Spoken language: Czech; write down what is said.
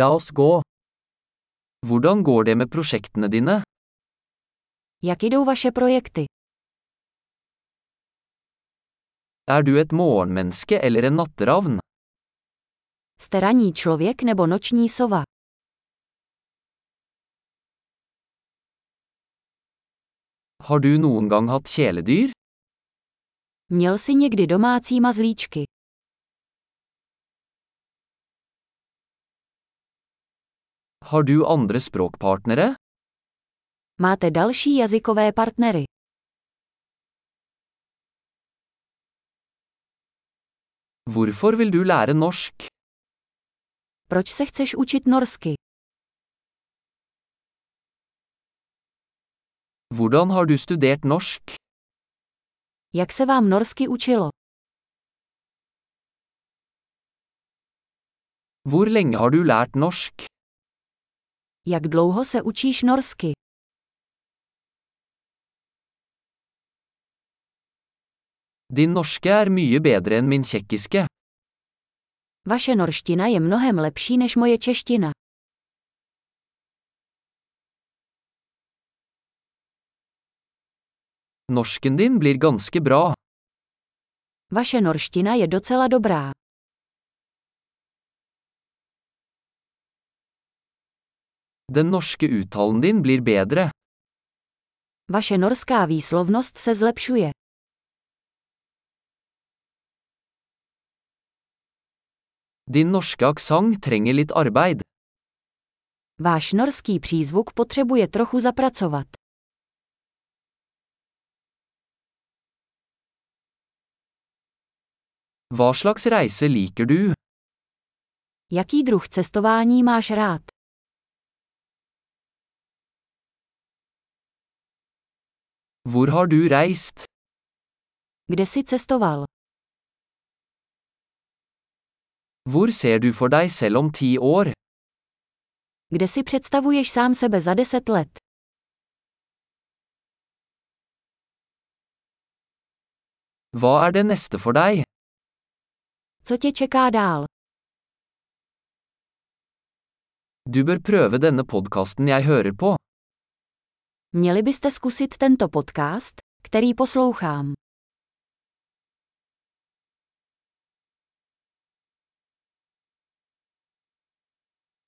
La oss gå. Hvordan går det med prosjektene dine? Jak jdou vaše projekty? Er du et morgenmenneske eller en natteravn? Jste ranní člověk nebo noční sova? Har du noen gang hatt kjæledyr? Měl jsi někdy domácí mazlíčky? Har du andre språkpartnere? Máte další jazykové partnery? Hvorfor vil du lære norsk? Proč se chceš učit norsky? Hvordan har du studert norsk? Jak se vám norsky učilo? Hvor lenge har du lært norsk? Jak dlouho se učíš norsky? Din norske er mye bedre enn min tsjekkiske. Vaše norština je mnohem lepší než moje čeština. Norsken din blir ganske bra. Vaše norština je docela dobrá. Den norske uttalen din blir bedre. Vaše norská výslovnost se zlepšuje. Din norske aksent trenger litt arbeid. Váš norský přízvuk potřebuje trochu zapracovat. Hva slags reise liker du? Jaký druh cestování máš rád? Hvor har du reist? Kde jsi cestoval? Hvor ser du for deg selv om ti år? Kde si představuješ sám sebe za deset let? Hva er det neste for deg? Co tě čeká dál? Du bør prøve denne podkasten jeg hører på. Měli byste zkusit tento podcast, který poslouchám.